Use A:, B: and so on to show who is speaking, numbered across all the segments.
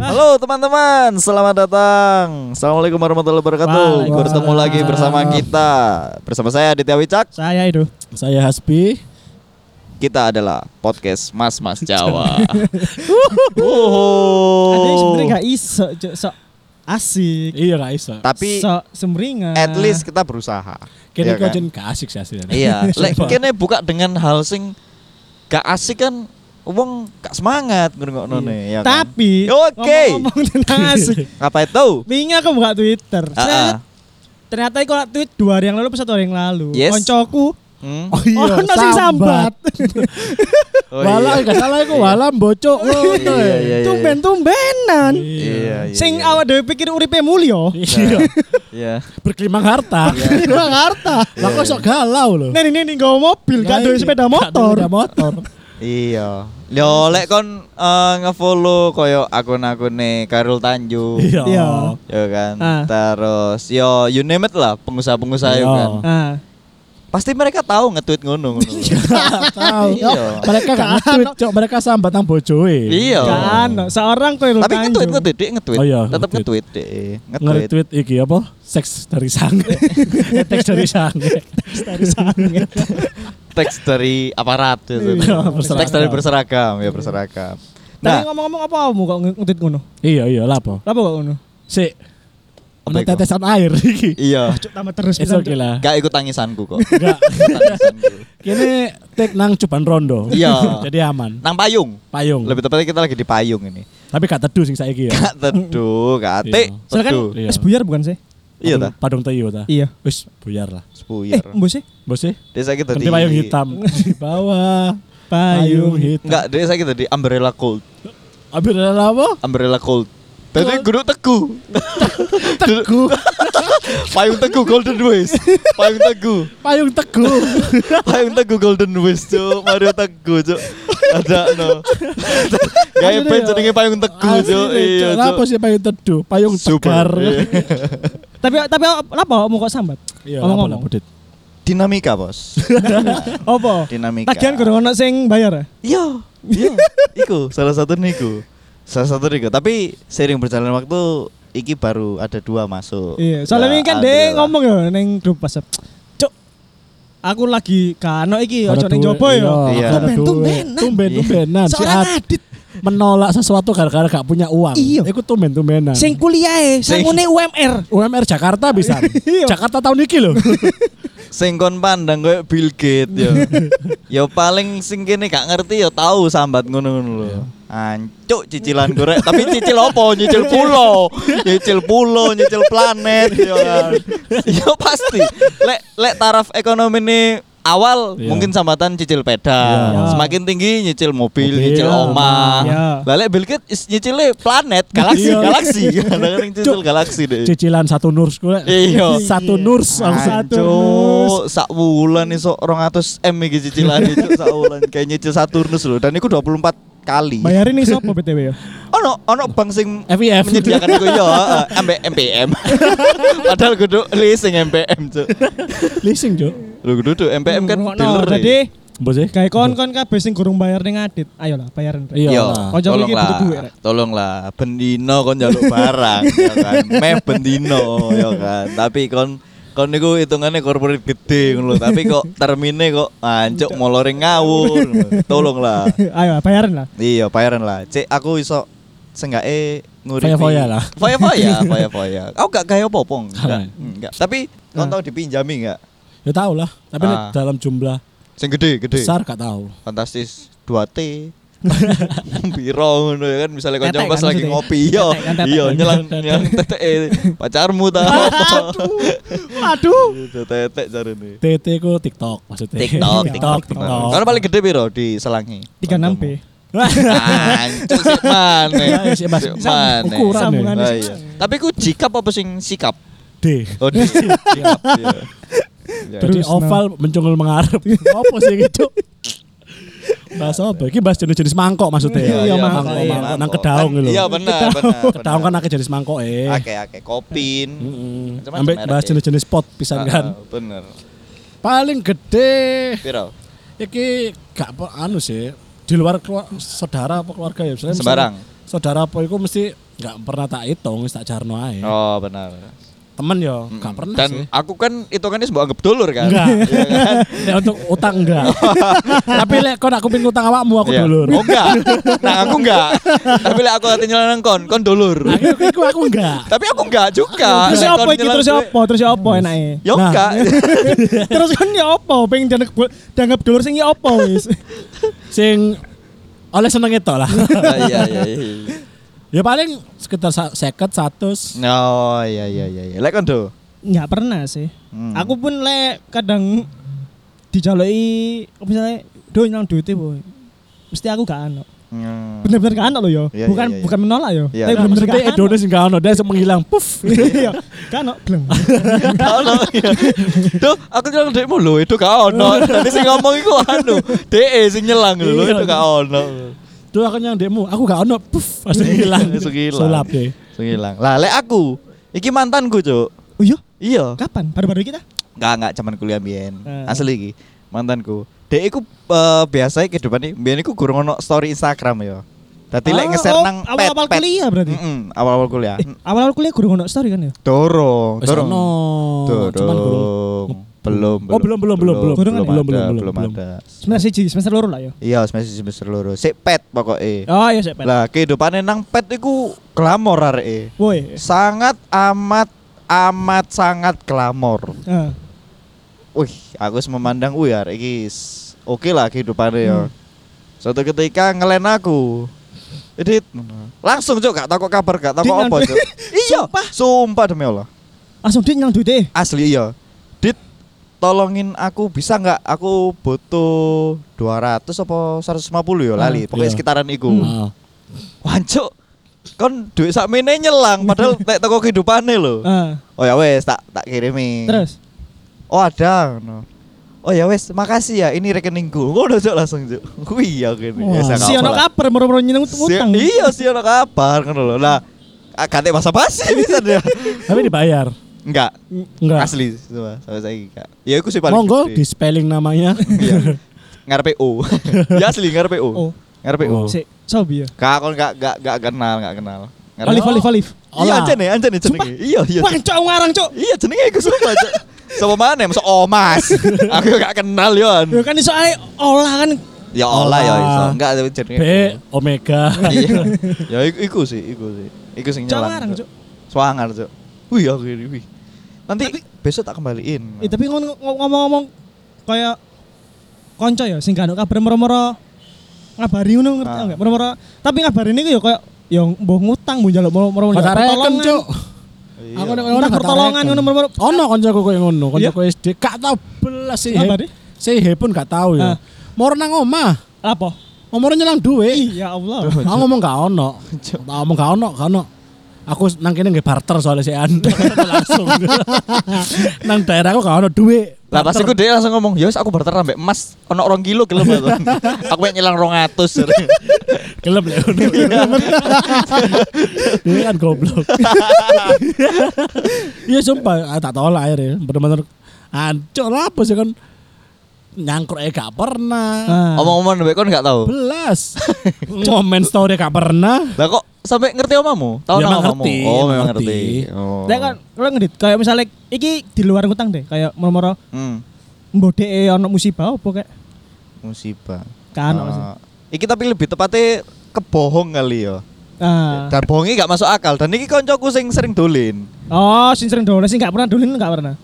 A: Halo teman-teman, selamat datang. Assalamualaikum warahmatullahi wabarakatuh.
B: Waalaikumsalam.
A: Bertemu lagi bersama kita, bersama saya Aditya Wicak.
B: Saya itu.
C: Saya Hasbi.
A: Kita adalah podcast Mas Mas Jawa. Wuhu.
B: Ada yang sebenarnya gak iso, cok, sok asik.
C: Iya gak iso.
A: Tapi
B: sok semringan.
A: at least kita berusaha.
C: Kini
A: Iya
C: kau
A: kan?
C: jen gak asik sih aslinya.
A: Iya, lek
C: Sumpah.
A: kene buka dengan hal sing gak asik kan wong gak semangat ngrungokno ne ya.
B: Iya.
A: kan?
B: Tapi
A: Oke.
B: ngomong tentang asik.
A: apa itu?
B: Wingi aku buka Twitter.
A: Ah, ah.
B: Set. Ternyata aku nak tweet dua hari yang lalu pas satu hari yang lalu.
A: Yes.
B: Koncoku
A: Hmm?
C: Oh iya,
B: Ono sing sambat.
A: Oh,
C: Walah
A: iya.
C: gak salah iku walah bocok ngono. ya.
A: Iya, iya, iya.
B: tumben-tumbenan.
A: Iya, iya,
B: Sing
A: iya.
B: awak dhewe pikir uripe mulya.
C: Iya,
A: Iya.
C: berkelimang harta.
B: Nang harta.
C: Lah kok sok galau loh.
B: Nih nih nih nggawa mobil, gak duwe sepeda
C: Sepeda
B: motor.
C: motor.
A: Iya. Yo lek kon eh, ngefollow koyo akun-akune Karul Tanjung.
C: Iya.
B: Iya.
A: Yo kan.
B: Ah.
A: Terus yo you name it lah pengusaha-pengusaha yo
C: Iya.
A: kan.
B: Ah.
A: Pasti mereka tahu nge-tweet ngono ngono.
C: Tahu.
A: Iya.
C: Mereka gak nge-tweet, cok. Mereka sambat nang bojoe.
A: Iya.
B: Gak ano, seorang kowe
A: Tapi kan nge-tweet nge-tweet dek, nge-tweet.
C: Oh, iya,
A: Tetep nge-tweet
C: nge-tweet.
A: dek. Nge-tweet.
C: Nge-retweet iki apa? Seks dari sange. Teks dari sange.
B: dari sange.
A: Teks dari aparat gitu.
C: Iya,
A: Teks dari berseragam ya berseragam. Nah,
B: Tapi ngomong-ngomong apa kamu kok ngutip ngono?
C: Iya, iya, lapo.
B: Apa kok ngono?
C: Sik.
A: Apa
C: Ono
A: iku?
C: tetesan air iki.
A: iya.
B: Cuk tambah terus
C: It's
B: pisan,
C: okay
B: Cuk.
C: lah.
A: Gak ikut tangisanku kok.
C: Enggak.
A: Tangisanku.
C: Kini take nang cuban rondo.
A: Iya.
C: Jadi aman.
A: Nang payung.
C: Payung.
A: Lebih tepatnya kita lagi di payung ini.
C: Tapi gak teduh sing saiki ya.
A: Gak teduh, gak
C: Iya.
A: atik.
B: Soalnya kan
A: Teduh.
C: Iya.
B: es buyar bukan sih?
A: Iya ta?
C: Padung Teyu ta.
B: Iya.
C: Wis buyar lah.
B: Eh,
A: Sepuyar.
B: mbok sih?
C: Bos sih.
A: Dia sakit tadi.
C: Ganti payung hitam di bawah. Payung hitam.
A: Enggak, dia sakit tadi umbrella cold.
C: Abis ada apa?
A: Umbrella cold. Tadi guru teguh.
C: Teguh.
A: Payung teguh golden waist. Payung teguh.
C: Payung teguh.
A: Payung teguh golden waist, Cuk. Mario teguh, Cuk. Ada no. Kayak
C: ya.
A: band jenenge payung teguh, Cuk. Iya,
C: Apa
A: Cuk.
C: sih payung teduh? Payung
A: Super.
C: tegar.
A: Iya.
B: Tapi tapi apa kamu kok sambat?
C: Iya,
B: Ngomong-ngomong.
C: apa lah, Budit.
A: Dinamika, Bos.
B: Apa?
A: Dinamika.
B: Tagihan kudu ono sing bayar ya?
A: Iya, iya. Iku salah satu niku. Salah satu niku. Tapi sering berjalan waktu iki baru ada dua masuk.
B: Iya, soalnya
A: Ya,
B: ini kan
A: alhamdulillah.
B: dia ngomong ya ning grup WhatsApp. Cuk. Aku lagi kano iki
C: Ada
B: ojo Iya, ning
C: duit,
B: jopo ya. nah.
A: Iya.
C: Iya. ada duit.
B: Tumben-tumbenan.
C: Tumben-tumbenan. Si
B: Seorang
C: Ad-
B: adit
C: menolak sesuatu gara-gara gak punya uang.
B: Iya.
C: Iku tumben-tumbenan.
B: sing kuliah e,
A: Sing-
B: sangune UMR.
C: UMR Jakarta bisa.
B: Iya.
C: Jakarta tahun iki loh.
A: Sing kon pandang koyo Bill Gates yo. yo paling sing kene gak ngerti yo tahu sambat ngono-ngono lho. Ancuk cicilan gorek, tapi cicil opo? Nyicil pulo. Nyicil pulo, nyicil planet yo kan. Yo pasti. Lek lek taraf ekonomi ini awal
C: Iya.
A: mungkin sambatan cicil peda.
C: Iya.
A: Semakin tinggi nyicil mobil,
C: Mobil,
A: nyicil omah.
B: Iya.
A: Lah lek Bill Gates is nyicile planet, galaksi,
C: Iya.
A: galaksi. Kadang-kadang nyicil galaksi deh.
C: Cicilan satu nurs gue.
A: Iya.
C: Satu nurs.
B: satu nus.
A: Ancuk, sak wulan iso 200 M iki cicilan itu sak wulan kayak nyicil satu nus lho dan iku 24 kali.
B: Bayarin nih sopo BTW ya?
A: Ono ono bank sing
C: FIF.
A: menyediakan iku eh, ya heeh, ambek MPM. Padahal kudu leasing MPM, Cuk.
C: Leasing, Cuk.
A: Lho kudu tuh MPM kan
B: Hmm, Ngono,
A: dealer. e. ya.
B: Jadi
C: Mbok sih.
B: Kayak kon-kon kabeh sing gurung bayar ning adit, ayolah bayaran. Rek.
C: Iya.
A: Yo,
C: lah.
B: Konco iki butuh duit,
A: tolonglah,
B: Rek.
A: tolonglah. Bendino kon jaluk barang, ya kan. Meh bendino, ya kan. Tapi kon kon niku hitungannya korporat gede ngono lho, tapi kok termine kok ancuk molore ngawur. Tolonglah.
B: Ayo bayaran lah.
A: Iya, bayaran lah. Cek aku iso senggae nguripi.
C: Foya-foya lah.
A: Foya-foya, foya-foya. Aku gak kaya apa-apa enggak.
C: Gak.
A: enggak. Tapi kon tau dipinjami enggak?
C: Ya tahu lah, tapi
A: Ah.
C: nek dalam jumlah
A: Sing gede, gede.
C: besar gak tahu.
A: Fantastis 2T. Biro ngono ya kan misalnya
B: Tetek
A: kanca pas
B: kan
A: lagi
B: maksudnya.
A: ngopi yo.
B: Tetek kan, tetek.
A: Iya, nyelang nyelang tetek pacarmu ta.
B: Aduh.
A: Udah tetek jarene.
C: TT ku TikTok maksudnya.
A: Tiktok,
C: TikTok, TikTok.
A: Karena paling gede biro di Selangi.
B: 36 p.
A: Ancuk sik maneh.
C: Ya, ya, sik, Mas.
A: Sik maneh.
C: Ukuran ya. Nah,
B: Sambungan.
A: Ah, iya. Tapi ku jikap apa sing sikap?
C: D.
A: Oh, di jikap. iya. Ya.
C: Jadi
B: Terus, nah.
C: oval mencungul mengarep. Apa sih gitu? Bahas apa? Iki bahas jenis-jenis mangkok maksudnya.
B: Iya, iya, mangkok,
C: mangkok,
B: iya,
C: mangkok. nang kedaung
A: Kan-
C: lho.
A: Iya benar, benar.
C: Kedaung kan akeh jenis mangkok eh.
A: Oke, oke, kopin.
C: Mm-mm.
A: Macam-macam
C: Ambek
A: merek
C: bahas
A: ya.
C: jenis-jenis pot
A: Ah,
C: pisan kan.
A: ah, Bener.
C: Paling gede
A: Piro?
C: iki gak apa- anu sih di luar keluar, saudara apa keluarga ya misalnya
A: Sembarang.
C: misalnya saudara apa itu mesti gak pernah tak hitung wis tak jarno ae
A: Oh, benar.
C: temen yo gak pernah
A: Dan
C: sih
A: aku kan hitungannya sebuah anggap dulur kan.
C: enggak
A: Iya kan?
C: Nek untuk utang enggak tapi lek kon aku ping utang awakmu aku
A: Iya.
C: dulur
A: Oh enggak. Nah, aku enggak. Tapi lek aku ati nyeleneng kon, kon dulur.
C: aku Nah, iku aku enggak
A: Tapi aku enggak juga.
B: Terus
A: Lek
B: apa
A: kon
B: iki
A: nyeleneng
B: terus
A: duit-
B: apa? Terus apa enake?
A: Ya
C: Nah.
A: enggak.
B: Terus kan ya apa? Pengen dianggap dianggap dulur sing ya apa wis.
C: sing oleh seneng itu lah
A: Nah, Iya iya iya.
C: ya paling sekitar sa- seket satus
A: Oh iya iya iya. iya. Lek kon do.
B: Enggak pernah sih.
A: Hmm.
B: Aku pun lek kadang dijalui misalnya do nang duite boy. Mesti aku gak ano.
A: Hmm.
B: Bener-bener gak ano loh yo.
A: Iya,
B: bukan
A: iya, iya.
B: bukan menolak yo.
A: Iya.
B: Tapi
A: Nah,
B: bener-bener
C: maksudnya
B: gak ano.
C: Indonesia enggak ono dia langsung menghilang puff
B: Iya, gak ano gleng.
A: Ono. Duh, aku nyelang dekmu lho, itu gak ono. Tadi sing ngomong iku anu, DE sing nyelang lho,
C: Iya.
A: itu gak ono.
C: tuh aku yang demo aku gak ono puff langsung
B: Iya,
C: hilang
A: Langsung hilang.
C: sulap deh
A: Sing ilang. Lah, lek aku, iki mantanku, Cuk.
B: Oh iya,
A: Iya.
B: kapan? Baru-baru kita?
A: Enggak, enggak zaman kuliah mbiyen.
B: Eh.
A: Asli iki, mantanku. Dek iku eh, biasanya kehidupan iki mbiyen iku gurung ono story Instagram ya. Dadi lek
B: Oh,
A: ngeser
B: oh,
A: nang
B: awal-awal
A: pet-pet.
B: kuliah berarti?
A: Mm-mm, awal-awal kuliah.
B: Eh, awal-awal kuliah guru ngono story kan ya?
A: Dorong,
C: Wis
A: dorong.
C: ono. Cuman gurung.
A: belum,
C: Oh, belum, belum, belum,
A: belum,
C: belum. Belum,
A: belum,
C: belum,
A: ada,
C: belum,
A: belum,
C: belum.
A: ada.
B: Semester siji, semester loro lah ya.
A: Iya, semester semester loro. Sik pet pokoknya.
B: Oh iya, saya pengen.
A: Lah kehidupannya nang pet iku glamor areke.
B: Woi.
A: Sangat amat amat sangat glamor.
B: Ah.
A: Wih, aku wis memandang wih arek iki s- oke lah kehidupannya ya. Suatu ketika ngelen aku. Edit. Langsung cuk gak takut kabar, gak takut
B: Dengan-
A: apa cuk. Iya,
B: Sumpah.
A: sumpah demi Allah.
B: Langsung dit nyang duite.
A: Asli iya. Dit tolongin aku bisa nggak aku butuh 200 apa 150 ya lali
C: Ah,
A: pokoknya
C: iya.
A: sekitaran iku
B: Hmm.
C: Ah.
A: Wancuk. Kon duit sakmene nyelang padahal tek teko kehidupane lho.
B: Ah.
A: Oh ya wes tak tak kirimi.
B: Terus
A: Oh ada ngono. Oh ya wes makasih ya ini rekeningku. Ngono cok langsung cok. Wih ya gini. Ya,
C: Wah.
A: saya
B: si
A: nggak apa
B: ono
A: lah.
B: kabar moro-moro nyeneng
A: Si-
B: utang.
A: Iya si ono kabar ngono lho. Lah ah, kate masa basi bisa dia.
C: Tapi dibayar.
A: Enggak.
C: Enggak.
A: Asli semua sampai saya enggak. Ya aku sih paling
C: Monggo
A: gede.
C: di spelling namanya.
A: Iya. ngarepe O. ya asli ngarepe O.
B: Oh.
A: Ngarepe O.
C: Oh.
B: Sik, sobi ya.
A: Kak kon gak gak gak kenal, gak kenal. Ngarepe-
B: Olive, olive, olive.
A: Iya
C: Ola.
A: anjane, anjane jenenge. Iya, iya.
B: Wah, cok aku ngarang cok.
A: Iya jenenge iku sumpah. Cuk. Sapa maneh masuk Omas. Aku gak kenal yo.
B: Ya kan iso ae olah kan.
A: Ya Allah ya iso.
C: Ola.
A: Enggak tapi jenenge.
C: B Omega.
A: Iya. Ya iku- iku sih, iku sih. Iku sing
B: Cok
A: nyelang.
B: ngarang
A: Cuk.
B: cok.
A: Swangar, Cuk. Wih, aku ini wih. Nanti besok tak kembaliin.
B: Eh tapi ngomong- ngomong-ngomong kayak konco ya sing gak ono kabar moro-moro ngabari ngono ngerti
A: Ah.
B: enggak? Moro-moro. Tapi ngabarin iku ya kayak ya mbok ngutang mbok njaluk moro-moro
C: Kata reken, kan, Cuk.
A: Iya.
C: Aku nek kan.
B: Entah pertolongan ngono moro-moro.
C: Ono koncoku koyo ngono,
B: Iya.
C: koncoku SD gak tau belas sih.
B: Apa, Di?
C: Sih pun gak
B: Ah.
C: tau ya. Moro nang omah,
B: Apa?
C: ngomong nyelang duwe.
B: Iya Allah.
C: Aku ngomong gak ono. Tak ngomong gak ono, gak ono. Aku nang kene nggih barter soalnya sih langsung. nang daerahku gak ono duwe.
A: Lah pas iku dia langsung ngomong, "Ya wis aku barter ambek emas ono 2 kilo gelem aku." aku pengen nyelang 200.
C: Gelem lek ngono. Ini kan goblok. Iya sumpah ah, tak tolak akhirnya bener-bener ancur lah apa sih kan nyangkruk eh gak pernah.
B: Ah.
A: Omong-omongan ambek kon gak tahu.
C: Belas. Komen story gak pernah.
A: Lah kok sampai ngerti omamu? Tahu
C: Ya,
A: nama
C: emang
A: omamu?
C: ngerti,
A: Oh,
C: emang
A: memang
C: ngerti.
A: ngerti. Oh.
B: Lek kan lo ngedit kayak misalnya iki di luar ngutang deh kayak moro-moro
A: Hmm,
B: mbok dhek e ono musibah apa kayak
A: musibah.
B: kan ono sih.
A: Ah, Iki tapi lebih tepatnya kebohong kali ya.
B: Ah.
A: Dan bohongi gak masuk akal. Dan iki koncoku sing sering dolin.
B: Oh, sing sering dolen sing gak pernah dolen gak pernah.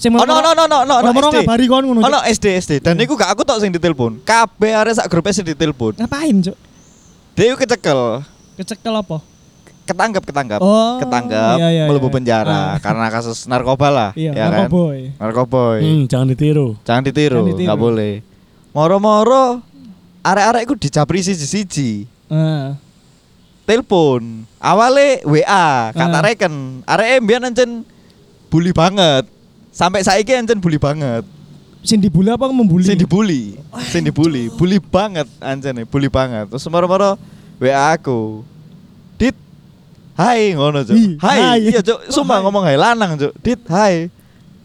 B: Sing
A: Oh, no, no, no, no, no, no,
B: moro-moro
A: SD.
B: ngabari kon ngono.
A: Oh,
B: Cuk.
A: no, SD, SD.
B: Iya.
A: Dan iku gak aku tok sing ditelepon. Kabeh arek sak grupnya sing ditelepon.
B: Ngapain, Cuk?
A: Dia iku kecekel.
B: Kecekel apa?
A: ketangkap ketangkap
B: Oh,
A: ketangkap
B: iya, iya,
A: melebu
B: iya.
A: penjara
B: Ah.
A: karena kasus narkoba lah
B: Iya,
A: ya kan
B: narkoboy.
A: narkoboy
C: Hmm, jangan ditiru.
A: jangan ditiru
B: Jangan ditiru.
A: nggak boleh moro-moro arek-arek iku dicapri siji-siji
B: Heeh.
A: telepon awalnya WA kata
B: Ah.
A: reken arek mbiyen ancen bully banget sampai saiki ancen bully banget
B: Sing dibully Oh, apa membuli?
A: sing dibully sing dibully bully banget ancen bully banget terus moro-moro WA aku dit hai ngono cuk
B: Ih,
A: hai
B: hai.
A: iya cuk sumpah ngomong hai lanang cuk dit hai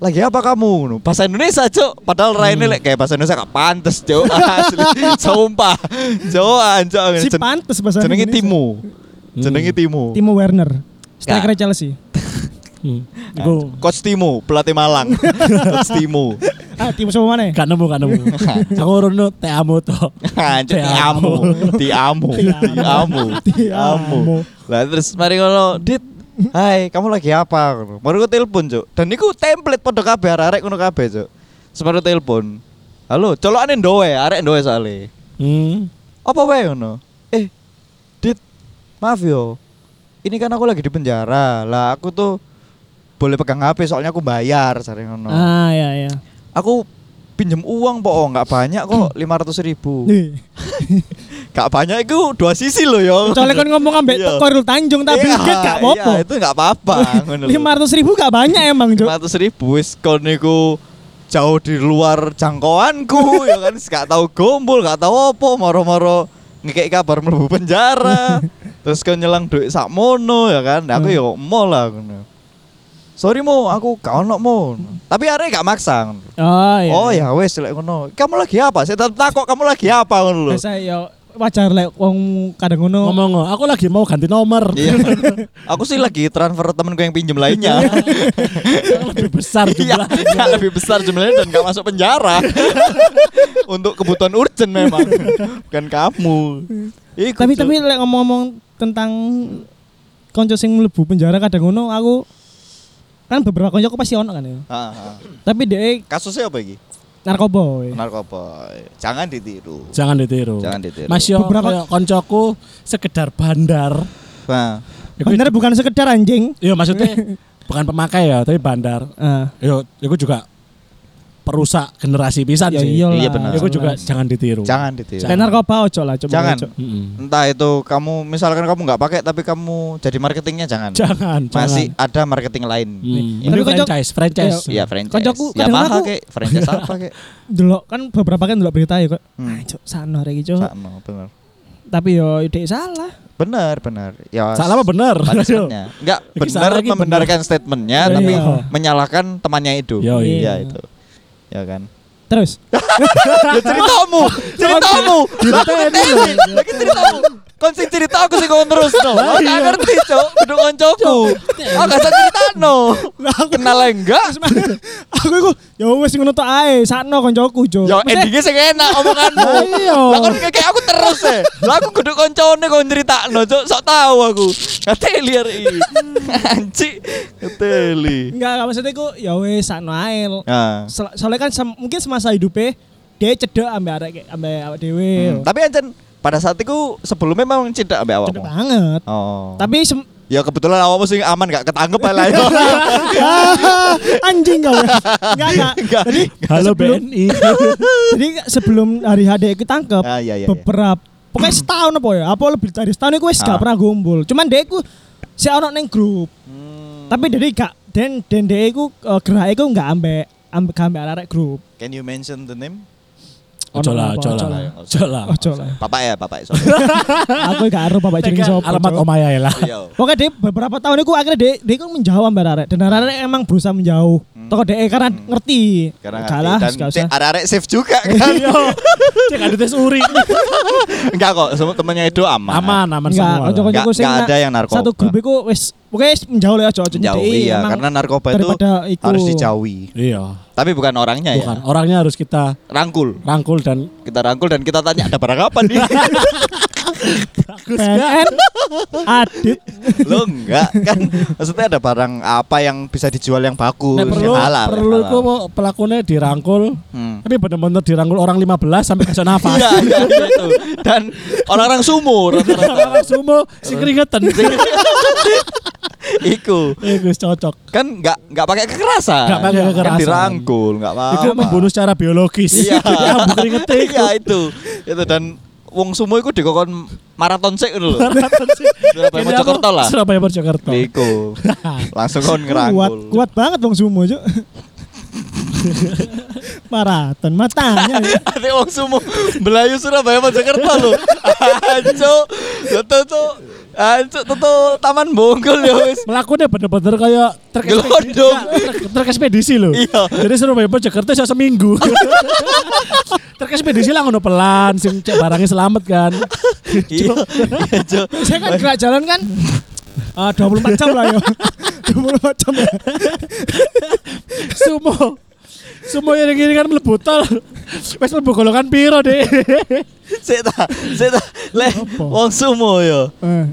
A: lagi apa kamu ngono bahasa Indonesia cuk
B: Hmm.
A: padahal Raine lek kayak bahasa Indonesia gak pantes cuk asli sumpah Jawa cuk
B: Si
A: Jen-
B: pantes bahasa
A: jenenge
B: Indonesia. Hmm.
A: Timo jenenge Timo
B: Timo Werner. Striker Chelsea.
C: Hmm.
B: Iku.
A: Coach Timo pelatih Malang Coach Timo
B: Ah, Timo sapa maneh?
C: Gak nemu, gak nemu. Aku rono teamu to.
A: Anjir diamu, diamu, diamu, diamu. Lah terus mari ngono, Dit. Hai, kamu lagi apa? Ngono. Baru ku telepon, Cuk. Dan niku template padha kabeh arek ngono kabeh, Cuk. Separuh telepon. Halo, colokane ndowe, arek ndowe soalnya
C: Hmm.
A: Apa wae ngono? Eh, Dit. Maaf yo. Ini kan aku lagi di penjara. Lah aku tuh boleh pegang HP soalnya aku bayar sering ngono.
B: Ah, ya ya.
A: Aku pinjem uang po, nggak banyak kok, 500 ribu.
B: Hmm. Nih.
A: Gak banyak itu dua sisi loh yo.
B: Soalnya kan ngomong ambek
A: Iya.
B: Korul Tanjung tapi
A: Iya,
B: gak gak apa-apa.
A: Iya, itu gak apa-apa. ngono lho.
B: Lima ratus ribu gak banyak emang Cuk.
A: 500 ribu wis kon niku jauh di luar jangkauanku ya kan gak tahu gombol, gak tahu apa moro-moro ngekek kabar mlebu penjara. Terus kon nyelang duit sakmono ya kan. Aku
B: Hmm.
A: yo emo lah ngono. Sorry mo, aku gak ono mo. Tapi arek gak maksa. ngono.
B: Oh iya.
A: Oh ya wes lek ngono. Kamu lagi apa? Saya tetap takok kamu lagi apa ngono lho.
B: Biasa ya wajar lek wong kadang ngono.
C: Ngomong, aku lagi mau ganti nomor.
A: Iya. Aku sih lagi transfer temenku yang pinjem lainnya.
C: Yang lebih besar
A: Iya,
C: jumlah.
A: iya, lebih besar jumlahnya dan gak masuk penjara. Untuk kebutuhan urgent memang. Bukan kamu. Iku,
B: Tapi
A: Cuk.
B: tapi lek ngomong-ngomong tentang konco sing mlebu penjara kadang ngono aku kan beberapa konco aku pasti ono kan ya.
A: Ah, ah.
B: Tapi dia
A: Kasusnya apa iki?
B: narkoba. woy.
A: Nah, Narkoba. Jangan ditiru.
C: Jangan ditiru.
A: Jangan ditiru.
C: Mas yo
B: Beberapa-
C: kayak koncoku sekedar bandar.
A: Nah,
C: Iku-
B: Oh, Bener bukan sekedar anjing.
C: Iya maksudnya bukan pemakai ya, tapi bandar.
B: Ah,
C: Yo, aku juga perusak generasi pisan
B: ya
C: sih.
B: iyalah.
A: Iya, benar.
C: Aku juga
B: jelas.
C: jangan ditiru.
A: jangan ditiru.
B: Lek narkoba ojo lah coba.
A: Jangan.
B: ojo.
C: Mm-mm.
A: Entah itu kamu misalkan kamu nggak pakai tapi kamu jadi marketingnya jangan.
C: Jangan.
A: Masih
C: jangan.
A: ada marketing lain.
C: Hmm.
B: Tapi
C: Mending
B: kocok-
C: franchise, franchise.
A: Iya, franchise.
B: Kocokku
A: ya
B: kadang
A: mahal
B: aku-
A: kek, franchise apa kek?
B: Delok kan beberapa kan delok berita ya kok.
A: Hmm.
B: Ah, cok sano rek iki, cok.
A: Sakno, bener.
B: Tapi yo ide salah.
A: Bener, bener. Ya,
C: Salah apa bener?
A: punishmentnya. Enggak
C: Iki
A: benar
C: salah, iki
A: membenarkan statementnya
B: Iya.
A: tapi
B: Iya.
A: menyalahkan temannya itu.
C: Yo,
B: iya.
A: Iya itu. Ya kan.
B: Terus
A: Ya ceritamu, ceritamu. Lah aku ngeteli, lagi ceritamu. Kon sing cerita aku sing ngomong terus no. Aku gak ngerti, Cok. Kudu koncoku. Aku gak usah ceritano. Kenal ae enggak?
B: aku iku ya wis ngono tok ae, sakno koncoku jo.
A: Ya
B: Maksudnya,
A: endingnya sing enak omonganmu.
C: Iya.
A: Lah kon kayak aku terus e. Lah aku kudu koncone kon critakno, Cok. Sok tahu aku. Ngeteli arek iki. Anci. Ngeteli.
B: Enggak, enggak maksudnya iku ya wis sakno ae.
A: Nah.
B: Sel- Soalnya kan sem- mungkin semasa hidupnya dia cedek ambil arek kayak- ambil awak dhewe.
A: Hmm, Tapi ancen pada saat itu sebelumnya memang cinta ambek
B: Cedek
A: awakmu.
B: banget.
A: Oh.
B: Tapi sem-
A: ya kebetulan awakmu sing aman gak ketangkep lah ya.
B: anjing kau. Enggak enggak.
A: Enggak.
B: Jadi
C: Halo
B: sebelum-
C: BNI.
B: Jadi sebelum hari HD aku tangkep
A: Ah, iya, iya, iya.
B: beberapa pokoknya setahun apa ya? Apa lebih dari setahun aku wis
A: Ah. Hmm.
B: gak pernah gombol. Cuman dia aku si ono neng grup. Tapi dari gak dan dan dia aku eh, gerak aku gak ambek ambek ambek arek grup.
A: Can you mention the name?
C: Ojo lah,
B: Ono apa,
C: ojo lah. Ojo lah.
B: Ojo lah.
A: Bapak ya, bapak ya. sorry.
B: Aku gak arep bapak jenenge sapa.
C: Alamat
B: Cok.
C: Omaya ya lah.
A: Iya.
B: Pokoknya dia beberapa tahun aku akhirnya dia dia kan menjauh ambek arek dan arek emang berusaha menjauh. Toko dia karena ngerti.
A: Hmm. Karena
B: Gak lah,
A: ngerti. dan
B: gak
A: E
B: usah.
A: cek arek-arek safe juga kan.
C: Iya. Cek ada tes uri.
A: Enggak kok, semua temannya itu aman.
C: Aman, aman
B: Enggak,
C: semua. lah.
B: kocok-kocok
A: Enggak-
B: sing
A: enggak
B: nak-
A: ada yang narkoba.
B: Satu grup iku wis pokoke wis menjauh lah aja aja
A: Jauh
B: nyedeki,
A: iya,
B: emang
A: karena narkoba itu
B: daripada iku.
A: harus dijauhi.
C: Iya.
A: Tapi bukan orangnya
C: Bukan.
A: ya.
C: Orangnya harus kita
A: Rangkul.
C: rangkul dan
A: Kita rangkul dan kita tanya ada barang apa nih?
B: PNN Adit
A: Lo enggak kan maksudnya ada barang apa yang bisa dijual yang bagus,
C: Nah, perlu
A: yang halal. yang
C: perlu
A: halal.
C: iku pelakunya dirangkul.
A: Hmm.
C: Tapi benar-benar dirangkul orang 15 sampai kasih nafas.
A: Iya, iya, iya, itu. Dan orang-orang sumur rata-rata.
C: Orang semua si keringetan.
A: Iya. Iku
C: Iya, guys cocok.
A: kan nggak nggak pakai kekerasan.
C: Nggak pakai
A: Kan
C: kekerasan.
A: dirangkul, nggak apa-apa.
C: Itu membunuh secara biologis.
A: Iya.
C: Ya, bu keringetan.
A: Iya itu. Itu dan wong sumur iku dikokon maraton sik ngono lho.
C: Maraton sih.
A: Surabaya
C: Ini
A: Mojokerto
C: aku
A: lah. Iya.
C: Surabaya Mojokerto.
A: Iku. Langsung kon
B: kuat
A: ngerangkul.
B: kuat banget Bang Sumo Cuk. Maraton matanya.
A: Ati wong sumo Belayu Surabaya Mojokerto lho. Anco. Tentu Ya Ancuk tutul taman bonggol ya wis.
C: Melakukannya bener-bener kayak trek ekspedisi.
A: Gelondong.
C: Nggak, trek- Trek ekspedisi loh.
A: Iya.
C: Jadi Surabaya Mojokerto iso seminggu. trek ekspedisi lah ngono pelan sing cek barangnya selamat kan.
A: Iya. Iya, Cuk.
B: Saya kan gerak jalan kan
C: Ah,
B: eh, 24 jam
C: ya.
B: lah yo. 24 jam ya.
C: Sumo. Sumo yang kiri kan mlebu tol. Wes mlebu golongan piro, Dek?
A: Sik ta, sik ta. Le
C: Apa?
A: wong sumo ya.
B: Eh,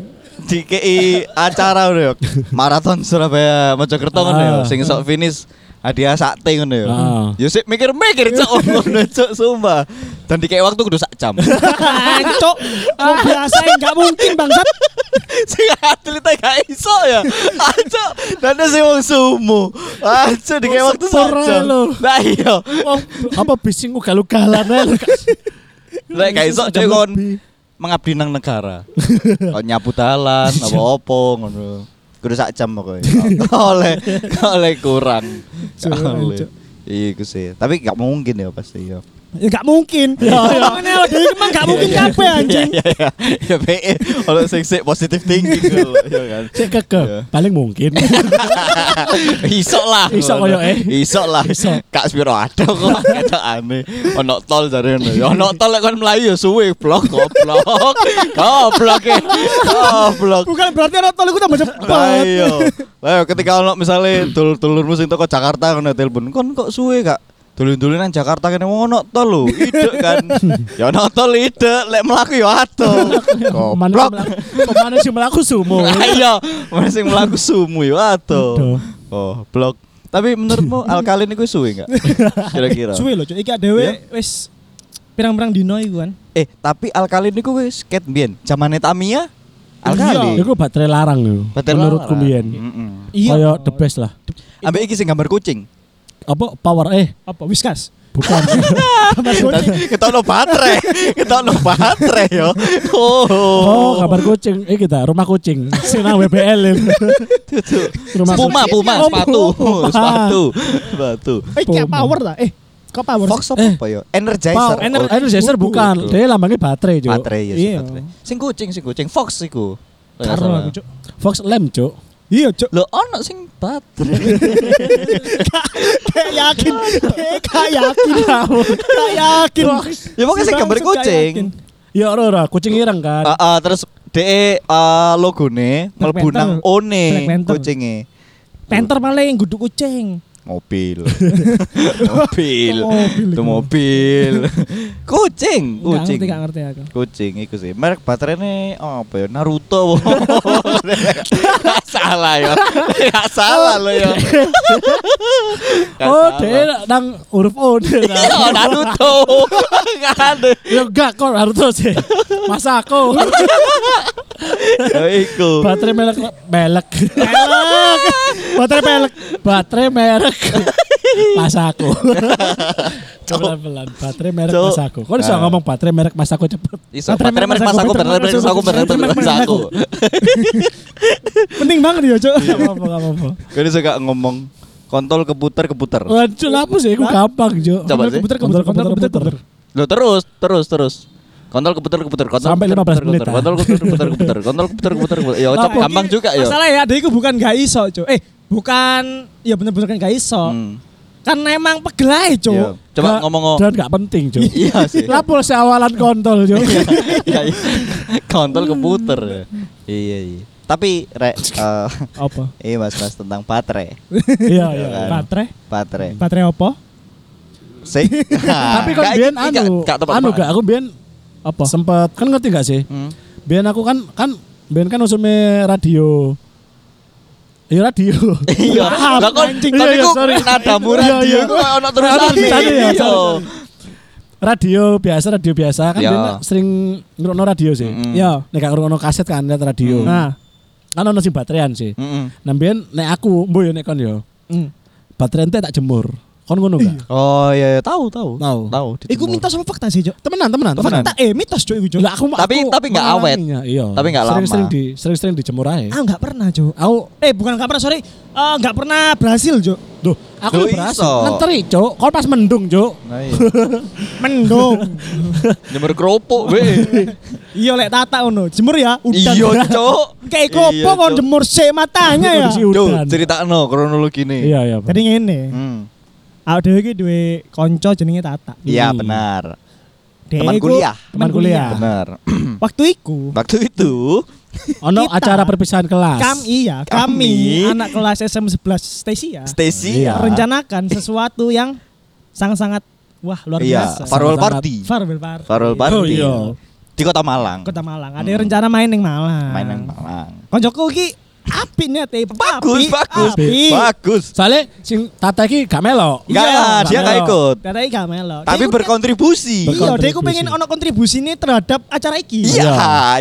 A: Dikei acara ngono ya. Maraton Surabaya Mojokerto ngono ya.
C: Ah.
A: Sing sok finish hadiah sakte ngono ya.
C: Ah.
A: Ya sik mikir-mikir cuk ngono cuk sumpah. Dan dikei waktu kudu sak jam.
B: Cok, mau biasa enggak mungkin bangsat.
A: sing atletnya gak iso ya aja nanti sing wong sumo aja di kayak waktu
C: Sepur ae
A: saja
C: lho.
A: nah iya
C: Wong apa bising ugal-ugalan ae lho, Kak.
A: lek gak iso
C: Jam
A: dia kon
C: lebih.
A: mengabdi nang negara kon nyapu dalan apa apa ngono kudu sak jam pokoknya Gak oleh gak oleh kurang Gak
B: Cuk,
A: oleh.
B: cuk.
A: iya iku sih tapi gak mungkin ya pasti ya
B: Ya enggak mungkin.
C: Ya, ya.
B: Ngene lho dhewe emang enggak
A: Iya,
B: mungkin kabeh anjing.
A: ya ya ya PE kalau sing sik positif thinking dulu ya kan
C: Cek keke.
A: Iya.
C: Paling mungkin.
A: Isok lah.
C: Isok koyo eh.
A: Isok lah. Kak Spiro ada kok ketok aneh. Ono tol jare ngono. Ya ono tol lek kon mlayu ya suwe blok goblok. Goblok e. Goblok.
B: Bukan berarti orang tol iku tambah
A: Lah
B: cepet.
A: iya. Lah iya, ketika ono misale dulur-dulurmu sing teko Jakarta ngono telepon, kon kok suwe Kak? Dulur-dulur nang Jakarta kene wong ono tol lho, idek kan. Ya ono tol idek, lek mlaku ya adoh. Goblok.
C: Pemane sing melaku sumo.
A: Lah iya, mana sing mlaku sumu ya adoh. Oh, blok. Tapi menurutmu alkalin itu suwe nggak? Kira-kira.
B: Suwe lho Cok, iki dhewe
A: Ya.
B: wis pirang-pirang dino iku kan.
A: Eh, tapi alkalin itu wis ket biyen. Zamane Tamiya alkali.
C: Iya, Iku baterai larang yo.
A: Baterai
C: Menurutku
A: larang.
C: biyen.
A: Heeh.
B: Iya.
C: Kayak the best lah.
A: Ambek iki sing gambar kucing.
C: Apa power eh
B: Apa Whiskas?
C: bukan.
B: Gambar kucing.
A: Ketokno baterai. Ketokno baterai yo. Oh.
C: Oh, kabar kucing. Eh kita rumah kucing. Sing nang WBL. ini. rumah
A: Puma,
C: kucing.
A: puma,
C: Oh,
A: sepatu,
C: Puma.
A: sepatu, sepatu.
B: Eh, kayak
C: Puma.
B: power lah. Eh, kok power?
A: Fox apa yo? Energizer.
C: Power, Eh. ener- energizer
B: Oh,
C: bukan.
A: bukan.
C: Dia lambangnya baterai, Cuk.
A: Baterai ya sih
B: Iya.
A: baterai. Sing kucing, sing kucing. Fox iku.
B: Karo aku, Cok.
C: Fox Lamp, Cuk.
B: Iya, Cok.
A: Lo ono sing baterai.
B: Kayak yakin. Kayak yakin. Kayak yakin.
A: Ya pokoknya sing gambar
B: Bangsat, kayak
A: kucing.
B: yakin.
C: Ya ora ora, kucing ireng kan.
A: Ah, ah, terus de ah, logone
B: Black
A: mlebu nang
B: Panther. Black
A: one
B: Panther.
A: kucinge.
B: Penter paling guduk kucing.
A: Mobil. mobil.
B: Mobil.
A: Itu mobil. kucing,
B: Enggak
A: kucing.
B: ngerti, enggak ngerti aku.
A: Kucing iku sih. Merek baterainya apa ya? Naruto. Nggak salah ya. Nggak salah lo ya. Nggak
C: Oh,
A: kan salah.
C: dia nang huruf O. dia nang.
A: Iya, Naruto. Nggak ada.
C: Ya enggak kok Naruto sih. Masa aku
A: Ya iku.
C: baterai melek melek. Melek. Baterai melek. Baterai merek. Masa aku. Pelan-pelan. Baterai merek
A: Cuk.
C: masa aku. Kok bisa
A: Ah.
C: ngomong baterai merek masa aku cepet.
A: Iso, baterai merek mas aku, baterai merek mas aku, baterai merek mas aku.
B: Penting banget ya,
A: Iya.
B: Cok.
C: Gak Iya, apa-apa, gak apa-apa.
A: Gue ini Kan suka ngomong kontol keputar keputar.
C: Waduh, apa sih? Aku gampang, Jo.
A: Coba sih.
B: Komputer, komputer, komputer, komputer, komputer.
A: Lo terus terus terus. Kontol keputar keputar kontol
C: Sampai
A: keputer,
C: 15 menit,
A: keputer,
C: ah.
A: Kontol keputar keputar keputer. Kontol keputar keputer keputer. Ya
B: Nah,
A: cep gampang
B: mungkin
A: juga ya.
B: Masalah ya, dia itu bukan gak iso, Cuk. Eh, bukan ya bener-bener kan gak iso.
A: Hmm.
B: Kan emang pegelai,
A: Iya.
B: Cuk.
A: Coba
C: Gak-
A: ngomong
C: Dan gak penting, Jo.
A: Iya sih.
C: Lapor seawalan kontol, Jo.
A: Ya, iya. Kontol keputer. ya. Iya iya. Tapi rek eh,
B: Apa?
A: iya mas mas tentang baterai.
C: Iya, iya.
B: Baterai?
A: Baterai.
B: Baterai apa?
A: Sih. Ah,
C: Tapi kan biyen anu, anu gak aku biyen
B: Apa?
C: sempet kan ngerti gak sih?
A: Hmm.
C: Biyen aku kan kan biyen kan usume radio. Iya radio.
A: Iya,
C: Paham,
A: lah kon
C: anjing.
A: kon
C: Iya, iya,
A: iku
C: sorry.
A: nada
C: Iya,
A: murah
C: iya.
A: dia iku ono terusan
C: Sorry, sorry, ya,
A: iya.
C: sorry, radio biasa, radio biasa kan
A: Iya.
C: biyen sering ngrungokno radio sih.
A: Mm-mm. Mm.
B: Ya.
C: Nek gak ngrungokno kaset kan liat radio.
B: Nah,
C: Kan ono sing baterean sih.
A: Mm-mm.
C: Nah biyen nek aku mbo yo nek kon yo.
B: mm.
C: Baterai ente tak jemur. Kon ngono gak?
A: Oh iya, iya. tahu tahu.
C: Tahu.
A: Tahu.
B: Iku
A: ditemur.
B: mitos apa fakta sih, Cuk?
C: Temenan, temenan, temenan.
B: Fakta eh mitos, Cuk, iku, Cuk.
C: Lah aku
A: Tapi-
C: aku
A: tapi nggak awet.
C: mengalaminya, Iya.
A: Tapi nggak lama.
C: Sering-sering di sering-sering dijemur aja.
B: Ah, enggak pernah, Cuk.
C: Aku
B: Eh, bukan enggak pernah, sorry. Eh, enggak pernah berhasil, Cuk.
C: Duh, aku
A: Duh,
C: lu berasa.
A: iso.
C: Ngenteri, Cuk. Kon pas mendung, Cuk.
A: Nah, iya.
B: Mendung.
A: Nyemur kerupuk, weh.
B: Iya lek tata ngono. Jemur ya udan.
A: Iya, Cuk.
B: Kayak
A: Iya,
B: kopo kon
A: Cuk.
B: jemur se matanya ya.
C: Kondisi
A: Cuk,
C: udan.
A: ceritakno kronologi nih.
C: Iya, iya. Bro.
B: Jadi ngene.
A: Hmm.
B: Aku dhewe iki duwe kanca jenenge Tata.
A: Iya
C: Hmm.
A: benar.
B: Dhek
A: Teman
B: iku-
A: kuliah. Hmm.
C: Teman kuliah. Ah.
A: Benar.
B: Waktu iku
A: Waktu itu
C: Ono
B: Kita-
C: acara perpisahan kelas.
B: kami iya, kami,
A: Kami.
B: anak kelas SM11 Stasia
A: Stacy
C: Iya.
B: merencanakan sesuatu yang sangat-sangat wah luar
A: Ah. Iya,
B: biasa.
A: farewell
C: Sangat-sangat
A: party.
B: Farewell party.
A: Farewell party.
C: iya.
A: Di Kota Malang.
B: Kota Malang. Ada
A: Hmm.
B: rencana main ning Malang.
A: Main nang Malang.
B: Koncoku iki api nih teh.
A: Bagus, bagus. Bagus.
C: Soalnya sing tata iki gak melo.
A: Enggak
B: Iya,
A: lah, dia
C: Bang.
A: enggak ikut.
B: Katanya gak melo.
A: Tapi
B: Dia iku
A: berkontribusi.
B: pengen- Iya, dia iku
C: Berkontribusi.
B: pengen ono kontribusi nih terhadap acara iki.
A: Iya,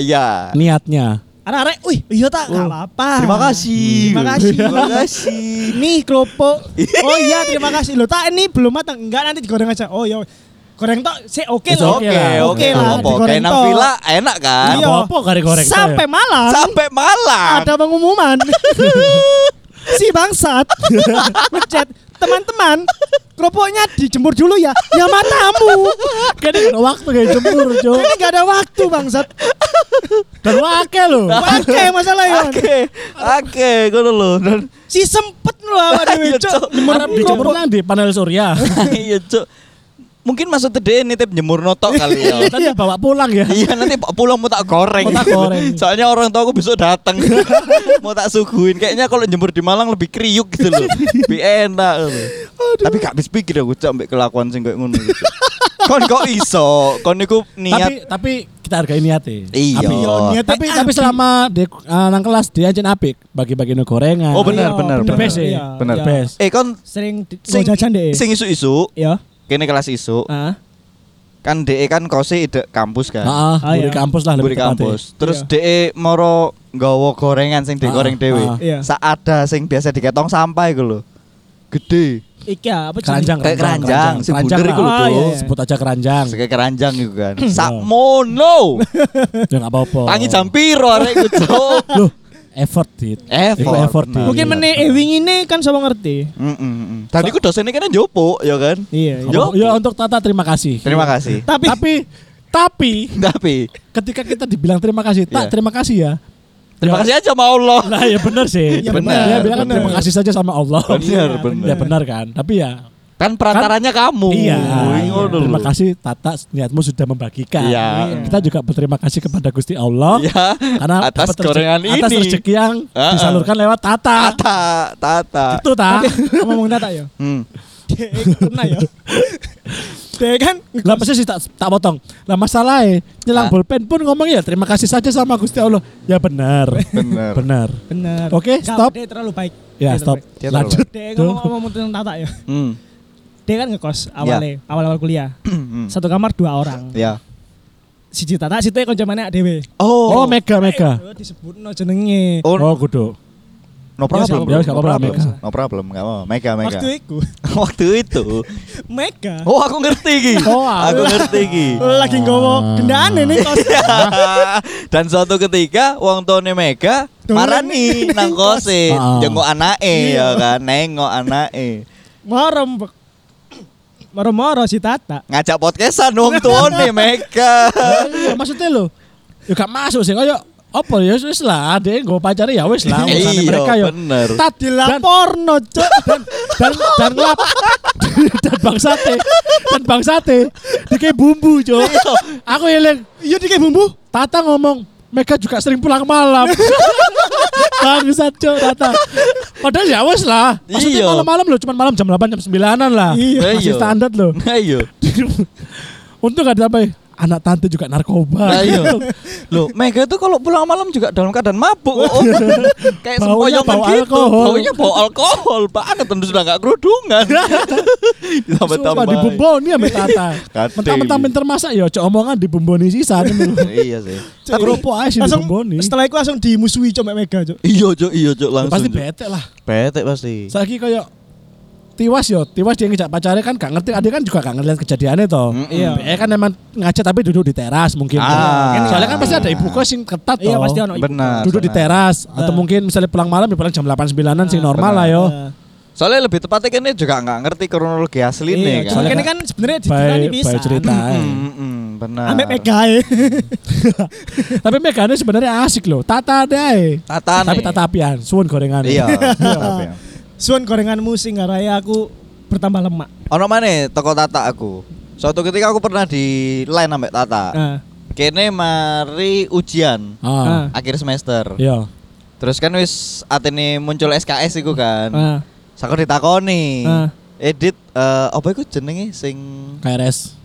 A: iya.
C: Niatnya.
B: Arek-arek, wih, iya tak gak apa-apa.
A: Oh, Terima kasih.
B: Terima kasih.
A: Terima kasih.
B: Nih kerupuk. Oh iya, terima kasih. Loh, tak ini belum matang. Enggak nanti digoreng aja. Oh iya. Goreng tok sih oke
C: It's
B: loh.
C: okay lah,
A: oke
C: oke
A: lah.
C: lah,
A: Apa
B: digoreng
A: kayak nang
B: tok.
A: villa enak kan?
B: Iya.
C: Apa-apa gak digoreng tok ya.
B: Sampai malam
A: Sampai Malang.
B: ada pengumuman. si bangsat mencet teman-teman kerupuknya dijemur dulu ya. Ya matamu.
C: Kan ini gak ada waktu kayak jemur, Cuk.
B: Ini gak ada waktu bangsat.
C: Dan wake lho.
B: Oke masalah ya.
A: Oke, oke, ngono lho. Dan
B: Si sempet lho awak dhewe
A: Iya, Cok.
B: cok.
C: Arab dijemur nang di panel surya.
A: iya, Cuk. Mungkin maksud tadi nitip nyemur notok kali ya.
C: Tadi bawa pulang ya.
A: Iya nanti pak pulang mau tak goreng.
C: Mau tak goreng.
A: Soalnya orang tua aku besok datang. mau tak suguhin. Kayaknya kalau jemur di Malang lebih kriuk gitu loh. Lebih enak. Loh. Tapi gak habis pikir aku cok ambek kelakuan sing kayak ngono gitu. kon kok iso? Kon niku
C: Tapi
A: niat.
C: tapi kita hargai niatnya.
A: Iya.
C: Apik. Tapi tapi selama di eh, nang kelas dia ancen apik bagi-bagi no gorengan.
A: Oh, bener, bener,
C: The
A: bener.
C: best ya.
B: Iya,
A: Bener.
B: iya.
C: Best.
A: Eh kon
B: Sering di-
A: sing
B: go jajan deh.
A: sing isu-isu,
B: Ya.
A: kene kelas isu,
B: Heeh.
C: Ah.
A: kan DE kan kose ide kampus kan.
C: Heeh,
B: Ah, iya.
C: buri kampus lah
A: Buri
C: lebih tepatnya. Iya.
A: kampus. Terus DE moro nggawa gorengan sing digoreng
C: Ah,
A: dhewe.
C: ah.
B: Iya.
A: Saat ada sing biasa diketong sampah iku lho. Gede.
B: Iki ya, apa jenenge?
C: Keranjang,
A: Kayak keranjang, si bunder
C: lah.
A: iku
B: lho,
C: Ah,
B: Cuk.
C: iya, iya. Sebut aja keranjang.
A: Seke keranjang iku kan.
C: Iya.
A: Sakmono.
C: Ya enggak apa-apa.
A: Tangi jam piro arek iku, Cuk?
C: Loh, effort dit.
A: Effort,
C: Iku effort
A: benar.
C: dit.
B: Mungkin
C: Iya.
B: meneh eh wingi ini kan sama ngerti.
A: Mm, mm, mm. Tadi ku dosennya kena jopo, ya kan?
B: Iya.
A: Yo.
B: iya.
C: Ya untuk Tata terima kasih.
A: Terima kasih.
B: Tapi
C: Tapi tapi
A: Tapi
C: ketika kita dibilang terima kasih, tak
A: Iya.
C: terima kasih ya.
A: terima
C: Ya.
A: kasih aja sama Allah.
C: Nah, ya benar sih.
B: Ya
A: benar,
C: Dia bilang kan
A: benar.
C: terima kasih saja sama Allah.
A: Benar,
B: Iya,
A: benar.
C: Ya benar kan? Tapi ya
A: Kan perantaranya kamu.
C: Iya.
A: Ngono lho.
C: Terima kasih Tata niatmu sudah membagikan.
A: Iya.
C: Kita juga berterima kasih kepada Gusti Allah
A: Iya.
C: Oh, karena
A: atas
C: dapat rezeki-
A: gorengan ini.
C: atas rezeki yang
A: Ah, ah.
C: disalurkan lewat Tata.
A: Tata, tata.
C: Itu ta.
B: ngomong tak ya.
A: Hmm.
B: Dek kena ya. Dek kan
C: Lah mesti sih tak tak potong. Lah masalahnya nyelang
A: Ah.
C: bolpen pun ngomong ya terima kasih saja sama Gusti Allah. Ya benar.
A: Benar.
C: benar.
B: bener.
C: Oke,
B: Gak,
C: stop.
B: Dek terlalu baik.
C: Ya
B: Dek
C: stop.
B: terlalu
A: Dia
C: Lanjut.
B: baik. Dek ngomong-ngomong tentang tata ya.
A: Hmm.
B: Dek kan ngekos awalnya, awal-awal kuliah.
A: Hmm.
B: Satu kamar dua orang.
A: Ya.
B: Siji tata situ konco mana dhewe.
C: Oh, mega mega.
B: Eh, disebutno jenenge. Iya,
A: Oh,
C: Oh, kudu.
A: no problem.
C: Ya, nggak apa-apa, Mega.
A: No problem, enggak apa-apa. Mega, mega.
B: Waktu itu
A: Waktu itu.
B: Mega
A: Oh, aku ngerti iki.
C: Oh,
A: aku ngerti iki.
B: lagi nggawa kendaan ini kos.
A: Dan suatu ketika wong tuane Mega
B: Tuh,
A: marani nang kose
C: Ah. Iya.
A: jenguk anake ya kan, nengok anake.
B: Morom Bek. Moro-moro si Tata.
A: Ngajak podcastan wong tuane Mega.
C: Iya, maksudnya lo. Ya gak masuk sih koyo apa ya wis lah, adek nggo pacare ya wis lah urusane
A: Iya,
C: mereka ya.
A: bener.
C: Tat dan
B: Dilaporno, Cuk.
C: dan dan dan lap dan bang sate dan bang sate dikei bumbu cok aku eling
B: Iya dikek bumbu.
C: Tata ngomong Mega juga sering pulang malam bangsat cok Tata padahal ya wes lah maksudnya
A: Iya.
C: malam-malam lo cuman malam jam 8 jam 9an lah
B: Iya.
C: masih
A: Iya.
C: standar lo
A: Ayo.
C: untung gak sampai anak tante juga narkoba
A: Ayo. Loh, Mega itu kalau pulang malam juga dalam keadaan mabuk. Oh, kayak
C: Baunya
A: sempoyongan
C: bau
A: gitu.
C: alkohol.
A: Baunya bau alkohol banget tentu sudah enggak kerudungan.
C: Sumpah
A: Ditambah-tambah.
C: dibumboni sama Tata
A: Katil.
C: Mentang-mentang pinter masak ya Cok omongan dibumboni sisa
A: Iya sih.
B: Tapi
C: Kerupuk aja sih
B: langsung
C: dibumboni
B: setelah itu langsung dimusuhi coba Mega Cuk.
A: Iya, Cuk, iya, Cuk, langsung.
C: Pasti
A: Cuk.
C: bete lah
A: Bete pasti.
C: Saiki koyo tiwas yo, tiwas dia ngejak pacarnya kan gak ngerti, adik kan juga gak ngerti kejadiannya toh.
A: Mm-mm.
B: Iya.
C: Be kan emang ngajak tapi duduk di teras mungkin.
A: Ah.
C: Soalnya kan pasti ada ibu kos yang ketat toh.
B: Iya pasti ono ibu.
A: Benar.
C: Duduk di
A: benar.
C: teras atau mungkin misalnya pulang malam ya pulang jam 8 9-an sih
A: Benar.
C: normal lah yo.
B: Eh,
A: Soalnya lebih tepatnya kan ini juga nggak ngerti kronologi aslinya
B: Iya,
A: kan.
B: cuma
C: Soalnya
B: kene
C: kan-
B: kan sebenarnya
C: Baik-
B: diceritain
C: baik cerita. eh.
A: Mm, mm, mm. benar.
B: Ambek ya. PKE.
C: Tapi megane sebenarnya asik loh. Tata deh.
A: Tatane.
C: Tapi tatapian, suwun gorengan.
A: eh. Iya. tatapi.
B: Suan gorenganmu sing ngaraya aku bertambah lemak.
A: Ono mana toko tata aku. Suatu ketika aku pernah di line ambek tata.
B: Ah,
A: Kene mari ujian
C: Nah. Ah.
A: akhir semester.
C: Iya.
A: Terus kan wis atene muncul SKS iku kan.
B: ah.
A: Saku ditakoni.
B: Ah.
A: Edit eh, apa iku jenenge sing
C: KRS.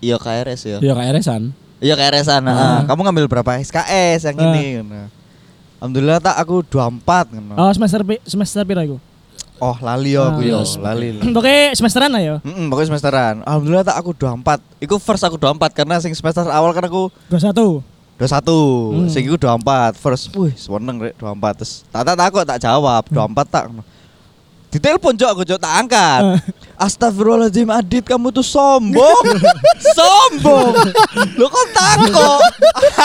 A: iya KRS ya.
C: Iya KRS-an.
A: Iya KRS-an. ah.
B: Ah.
A: Kamu ngambil berapa SKS yang
B: Ah.
A: ini? ngono. Alhamdulillah tak aku 24 ngono.
B: Oh, semester pi- semester piro iku?
A: Oh, lali ya aku
B: Ah.
A: ya, lali.
C: Hmm.
B: Pokoke semesteran lah ya.
A: Mm pokoknya semesteran. Alhamdulillah tak aku 24. Iku first aku 24 karena sing semester awal kan aku
B: 21.
A: 21.
B: Hmm.
A: Sing iku 24 first. Wih, seneng rek 24. Terus tak tak takut tak jawab 24 tak. Ditelepon Jok, aku Jok tak angkat.
B: Ah.
A: Astagfirullahaladzim Adit kamu tuh sombong Sombong Lu kok takut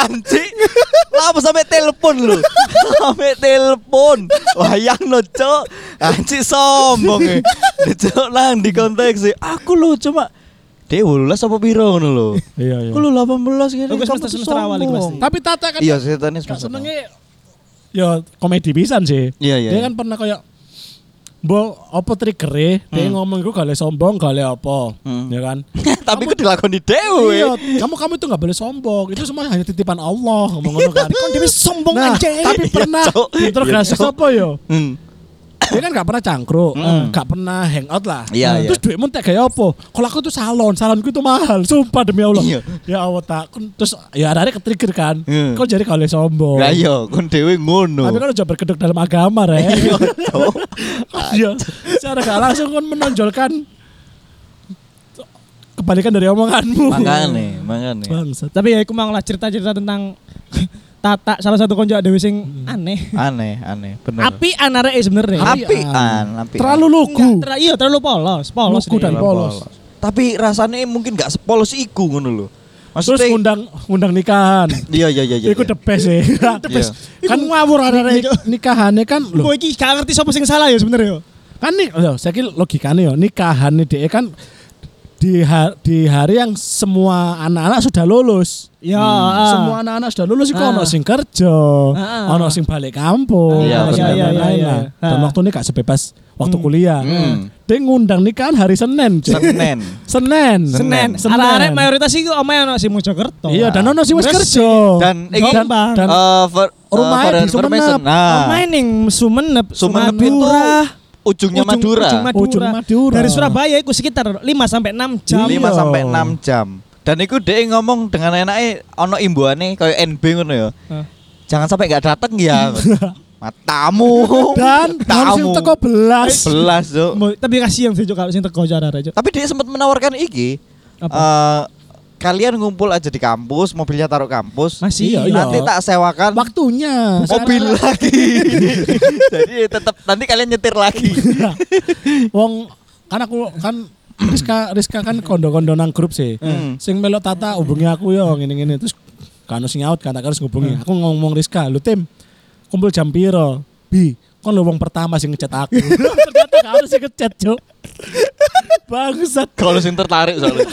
A: Anjing Lama sampai telepon lu Sampai telepon Wayang no cok Anjing sombong eh. Dia, Cok nang di konteks sih Aku lu cuma Dia lulus apa piro ngono lho
C: Iya, iya.
A: Aku lu 18 gini
B: Lu ke semester- semester awal iku pasti.
C: Tapi Tata kan
A: Iya setannya
C: gak
A: semester awal.
C: senenge ya komedi pisan sih.
A: Iya iya
C: Dia kan pernah kayak Bo, apa trigger Dia ngomong gue gak boleh sombong, gak boleh apa,
A: Hmm.
C: ya kan?
A: Tapi aku dilakoni
C: Iya,
A: dewe
C: kamu kamu itu nggak boleh sombong. Itu semua hanya titipan Allah. Ngomong ngono kan.
B: Kon dhewe sombong
C: Nah,
B: anjing.
C: tapi pernah
A: Cok.
C: interogasi
A: Iya, Cok.
C: apa yo?
A: Hmm.
C: Dia kan gak pernah cangkruk,
A: Mm.
C: gak pernah hangout lah. Nah,
A: Iya, iya.
C: Terus duitmu tak kayak apa? Kalau aku tuh salon, salonku tuh mahal. Sumpah demi Allah.
A: Iya.
C: Ya Allah tak. Kon- Terus ya hari ketrigger kan.
A: Hmm.
C: Kok jadi kalau sombong.
A: Lah iya kon dewe ngono
C: Tapi kan udah berkedok dalam agama, Rek.
A: Iya, Cok.
C: Iya. Secara gak langsung kan menonjolkan kebalikan dari omonganmu.
A: Makane, makane.
C: Bangsat.
B: Tapi ya aku mau lah cerita-cerita tentang Tata salah satu konco dewe sing aneh.
A: Aneh, aneh, bener.
B: Api anare sebenarnya.
C: Hmm. Nah. Api-
A: apian, apian.
C: Terlalu lugu.
B: Enggak, ter- iya terlalu polos, polos.
C: Lugu
B: deh.
C: dan polos.
A: Tapi rasanya mungkin gak sepolos iku ngono lho.
C: Terus
A: Maksudnya
C: ngundang ngundang nikahan.
A: Iya, iya, iya, iya.
C: Iku the best sih. The best.
B: Iku
C: Kan
B: ngawur arek-arek
C: nik- nikahannya kan
B: Kowe
C: loh.
B: iki gak ngerti sapa sing salah ya sebenarnya. yo.
C: Kan nih, loh, saya kira logikanya yo nikahan dia kan di ha- di hari yang semua anak-anak sudah lulus.
B: Ya, ah.
C: Hmm. Semua anak-anak sudah lulus iku
B: Ah.
C: ono sing kerja,
B: Ah.
C: ono sing balik kampung,
A: Iya,
C: ono sing
A: benar.
B: Iya,
C: lain-lain
B: iya,
C: lah.
B: iya.
C: Dan
B: Ah.
C: waktu ini gak sebebas waktu kuliah.
A: Hmm.
C: Dia ngundang nikahan hari Senin, Cuk.
A: Senen.
C: Senin.
A: Senin.
C: Senin.
B: Arek-arek mayoritas iku omae ono sing Mojokerto. Ah.
C: Iya, dan ono sing wis
B: Terus
C: kerja.
A: Dan iki
C: dan,
B: Jombang.
C: dan
A: eh, ver- eh,
C: Rumahnya
A: for
C: di
A: information.
C: Sumenep.
A: Nah,
B: Omae ning Sumenep,
A: Sumenep itu
B: Madura.
A: ujungnya
B: Ujung-
A: Madura.
B: ujung Madura.
C: Ujung Madura.
B: Dari Surabaya itu sekitar 5 sampai 6 jam.
C: Iya.
A: 5 sampai 6 jam. Dan iku dhek ngomong dengan enaknya ono imbuane kayak NB ngono ya.
B: Hah.
A: Jangan sampai gak dateng ya. Matamu.
C: dan harus
A: tamu.
C: teko belas.
A: Belas, Cuk.
B: Mo- Tapi kasihan sih Cuk, kalau sing teko jar arek Cuk.
A: Tapi dia sempat menawarkan iki.
B: Apa?
A: eh, kalian ngumpul aja di kampus, mobilnya taruh kampus.
B: Masih
C: Iya, iya.
A: Nanti tak sewakan
C: Waktunya.
A: mobil lagi. Jadi tetap nanti kalian nyetir lagi.
C: Nah, Wong kan aku kan Rizka Rizka kan kondo-kondo nang grup sih.
A: Hmm.
C: Sing melok tata hubungi aku yo ngene-ngene terus kan sing out kan tak harus ngubungi. Aku ngomong Rizka, lu tim kumpul jam piro? Bi, kon lo wong pertama sing ngechat aku. Ternyata gak harus sing ngechat, Cuk. Bangsat.
A: Kalau sing tertarik soalnya.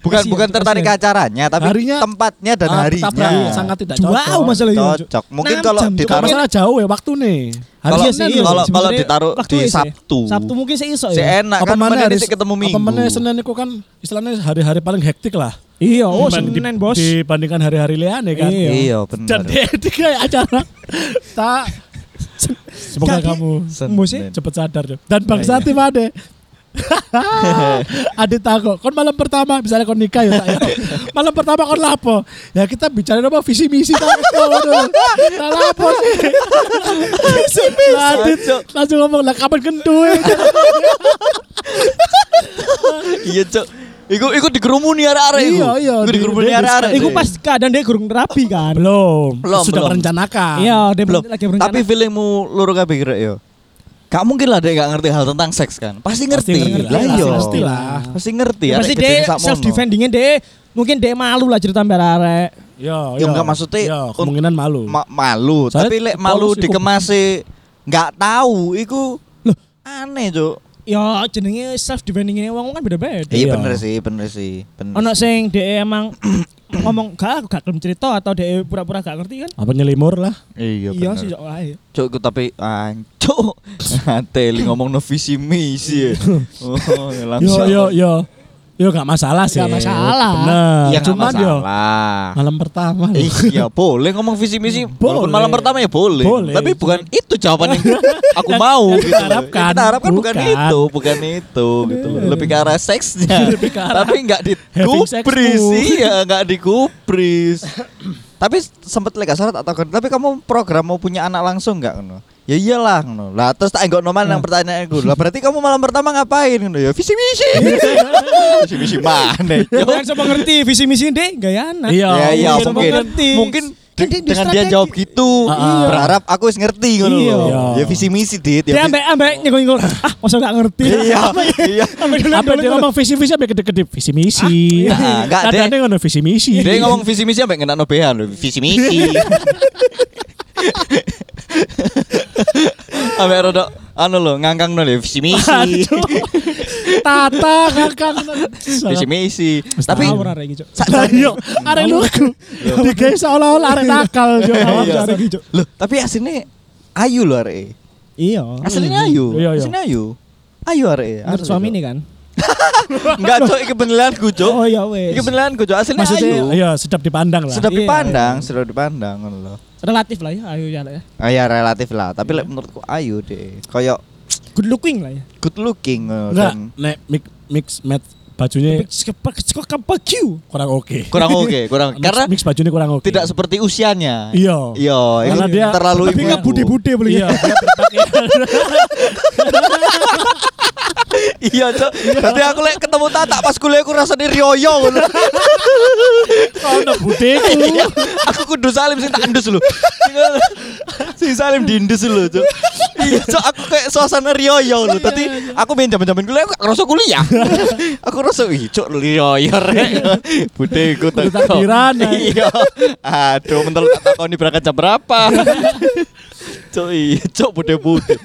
A: Bukan
C: Kasihan,
A: bukan tertarik ke
C: kasihan.
A: acaranya, tapi
C: iya, Harinya-
A: tempatnya dan
C: Ah,
A: harinya.
C: tabrak, sangat tidak
B: Jauh
C: cocok.
B: masalah itu. Cuk.
A: Cocok. Mungkin
B: Enam
A: kalau
B: jam, Cuk.
A: ditaruh-
B: Masalah-
C: Masalah jauh ya waktu nih. iya,
A: Kalau-
C: Harusnya sih.
A: kalau-
B: sebenarnya
A: ditaruh
B: waktu
A: di
B: sih.
A: Sabtu.
B: Sabtu mungkin sih iso
A: Si
B: ya.
A: enak
C: apa
A: kan
C: mana
A: menit
C: Riz?
A: sih ketemu minggu.
C: Apa mana Senin itu kan istilahnya hari-hari paling hektik lah.
B: Iya, oh
C: Dibanding-
B: Senin bos.
C: Dibandingkan hari-hari liane kan.
B: Iya.
A: Iya,
C: Dan
A: benar.
C: dia dia kayak acara tak semoga
B: Jadi-
C: kamu
A: Senin. Iya,
B: Mbok sih,
C: cepat sadar deh. Dan Bang Sati Made. Adit takut, kon malam pertama misalnya kon nikah ya tak ya. Malam pertama kon lapo. Ya kita bicara apa visi misi tak ngono. Tak lapo sih. Visi misi. Adit langsung ngomong lah kapan gendue.
A: Iya, Cok. Iku iku dikerumuni arek-arek iku.
C: Iya, iya,
A: Iku
C: di-
A: dikerumuni
C: di-
A: arek-arek.
B: kan
A: Iya.
B: Iku pas keadaan dia gurung rapi kan.
C: Belum,
A: Belum,
C: sudah
A: belum.
C: merencanakan.
B: Iya, dia
A: Ah. belum.
B: lagi berencana.
A: Tapi feelingmu loro kabeh kira yo. Gak mungkin lah dia gak ngerti hal tentang seks kan. Pasti ngerti.
C: ngerti
A: Lah
C: lah,
A: iya.
C: pasti lah.
A: Pasti ngerti.
B: Ya, pasti
A: arek gedene
B: dia
A: sakmono.
B: self defendingnya dia mungkin dia malu lah cerita mbak arek.
C: Iya,
A: Ya enggak, maksudnya
C: Iya,
A: un-
C: kemungkinan malu.
A: Ma- malu,
C: Soalnya
A: tapi lek
C: polos
A: malu
C: iku-
A: dikemasi nggak tahu iku aneh, Cuk.
B: ya jenenge self defending wong kan
A: Iya
B: beda-beda.
C: Iya.
A: bener sih, bener sih. Bener.
B: Ono sing dhek emang ngomong gak aku gak gelem cerita atau dhek pura-pura gak ngerti kan?
C: Apa nyelimur lah.
A: Iya
B: Iya
A: bener.
B: sih sok wae.
A: Cuk, ku tapi ancuk. Teli ngomong no visi misi. ya. Oh, ya
C: Yo
A: langsung.
C: yo yo. Yo gak iya. masalah sih.
B: Gak masalah.
C: Bener.
A: Iya nggak
C: Cuman yo
A: masalah.
C: malam pertama loh.
A: Iya boleh ngomong visi misi walaupun
C: Boleh.
A: malam pertama ya boleh.
C: Boleh.
A: Tapi bukan itu jawaban yang aku mau
C: yang
A: gitu.
C: kita
A: loh.
C: harapkan.
A: Yang kita harapkan bukan,
C: Bukan.
A: itu, bukan itu gitu loh. Lebih ke arah seksnya. Tapi nggak
C: having sex
A: digubris
C: dulu.
A: ya, nggak digubris. Tapi sempat lek syarat atau tapi kamu program mau punya anak langsung nggak ngono? Ya iyalah ngono. Lah terus tak enggak
C: Iya.
A: noman yang pertanyaan gue. Lah berarti kamu malam pertama ngapain ngono ya? Visi misi. Visi misi mana? Cuk?
C: Ya,
B: Jangan sama Ya kan ngerti visi misi dhek gak ya anak.
C: Iya.
A: Ya iya
B: mungkin.
A: mungkin
B: Ngerti.
A: mungkin de-
B: Kan dia
A: dengan dia
B: strategi.
A: jawab gitu
C: Ah, ah.
A: berharap aku wis ngerti ngono
B: Iya.
A: loh.
C: Iya.
A: Ya visi misi dit
B: Dia
A: ya.
B: ambek ambek nyengol-nyengol. Ah, masa gak ngerti. ya?
A: Iya iya.
B: Ambek dulu
C: Apa dia ngomong visi visi apa kedip-kedip visi misi.
A: Ah, enggak, Dek.
C: Kadang ngono visi misi.
A: Dia ngomong visi misi ambek ngenakno behan loh. Visi misi. Ambek rodok anu loh ngangkang loh visi misi.
C: tata kakak.
A: Visi misi. Tapi
B: Tapi ora iki, Cuk.
A: sak-
C: Lah yo, arek lugu. Digawe seolah-olah arek nakal yo. gitu.
B: Awak
A: Iya.
B: arek iki, Cuk.
A: loh, tapi aslinya ayu loh arek.
B: Iya.
A: Aslinya ayu.
C: Iya, iya.
A: Aslinya ayu. Ayu arek.
B: Menurut suami nih kan.
A: Enggak, Cok, iki penilaianku, Cok.
B: Oh iya wes.
A: Iki penilaianku, Cok. Aslinya ayu.
C: Maksudnya, ya sedap dipandang lah.
A: Sudah
B: Iya,
A: dipandang, sudah dipandang ngono loh.
B: Relatif lah ya, ayo ya. lah ya.
A: Ah ya relatif lah, tapi lek menurutku ayu deh. Kayak
B: Good looking lah ya.
A: good looking ngono,
C: Enggak,
A: dan
C: nek mix mix match
A: Iya.
C: bajunya
B: Kok kapak Q.
C: kurang oke.
A: kurang oke, kurang
C: Mix-
A: karena
C: mix bajunya kurang oke.
A: tidak seperti usianya.
C: Iya.
A: Iya, itu
C: Karena dia-
A: terlalu
B: Tapi nggak
A: ibu-ibu.
B: budi-budi beli
C: Iya.
B: ya.
C: dia berpakaian.
A: Iya, Cok. Nanti aku lek ketemu Tata pas kuliah aku rasanya rioyo ngono.
C: Ono budiku.
A: Iya, aku kudu salim sing tak endus lho. Sing salim diendus lho, Cok. Iya, Cok, aku kayak suasana rioyo lho. Tadi aku main jaman-jaman kuliah aku rasa kuliah. aku rasa ih, Cok rioyo rek. Bude ikut
C: Udah takbiran, nah.
A: Iya. Aduh, mentel tak takoni berangkat jam berapa. Cok, iya, Cok bude-bude.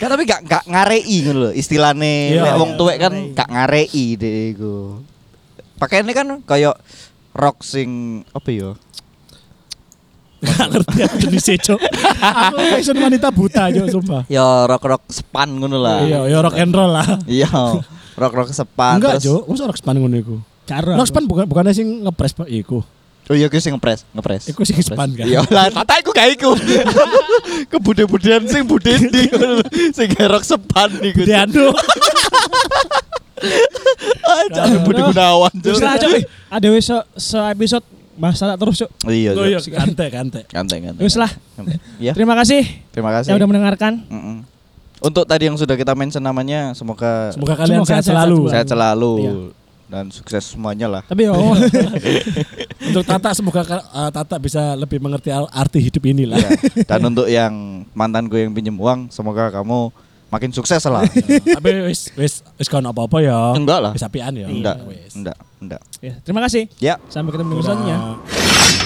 A: Kan tapi gak gak ngarei ngono lho istilahne
C: Iya.
A: nek wong tuwek kan
B: Ngarei.
A: gak ngarei deh iku. Pakaiannya kan kayak rock sing apa ya?
C: Gak ngerti aku jenisnya, Cok. Aku fashion wanita buta, Cok, sumpah.
A: Ya rock-rock sepan ngono lah.
C: Iya, ya rock and roll lah.
A: Iya. Rock-rock sepan
C: Enggak,
A: terus.
C: Cok. Masa rock span ngono iku?
B: Karo.
C: Rock span bukan bukannya sing ngepres Pak iku.
A: Oh iya kuwi sing ngepres, ngepres.
C: Iku sing
A: Ngepres.
C: span kan.
A: Iya lah, tata iku gak iku. Kebude-budean sing bude ndi ngono lho. sing gak rock sepan iku.
C: Dia anu.
A: Ajane Budi Ah, Gunawan. Cuk.
B: Terus lah Cuk, eh, ada wes se, se episode bahasa tak terus Cuk.
A: Iya,
C: Oh iya,
A: Cuk.
C: kante kante.
A: Ganteng, ganteng.
B: Wes lah.
A: Ganteng. Iya,
B: Terima kasih
A: terima kasih.
B: yang udah mendengarkan.
A: Mm-mm. Untuk tadi yang sudah kita mention namanya, semoga
C: Semoga kalian
B: Semoga
C: sehat
B: sehat
C: selalu.
B: selalu.
A: sehat selalu
B: Iya.
A: dan sukses semuanya lah.
B: Tapi oh. yo
C: Untuk Tata semoga uh, Tata bisa lebih mengerti al- arti hidup inilah.
A: Iya. Dan untuk yang mantan gue yang pinjem uang, semoga kamu makin sukses lah.
C: Tapi wis wis wis kan apa-apa ya.
A: Enggak lah.
C: Wis apian ya.
A: Enggak,
C: Wis.
A: enggak, enggak.
B: ya, terima kasih.
A: Ya.
B: Sampai ketemu di episode selanjutnya.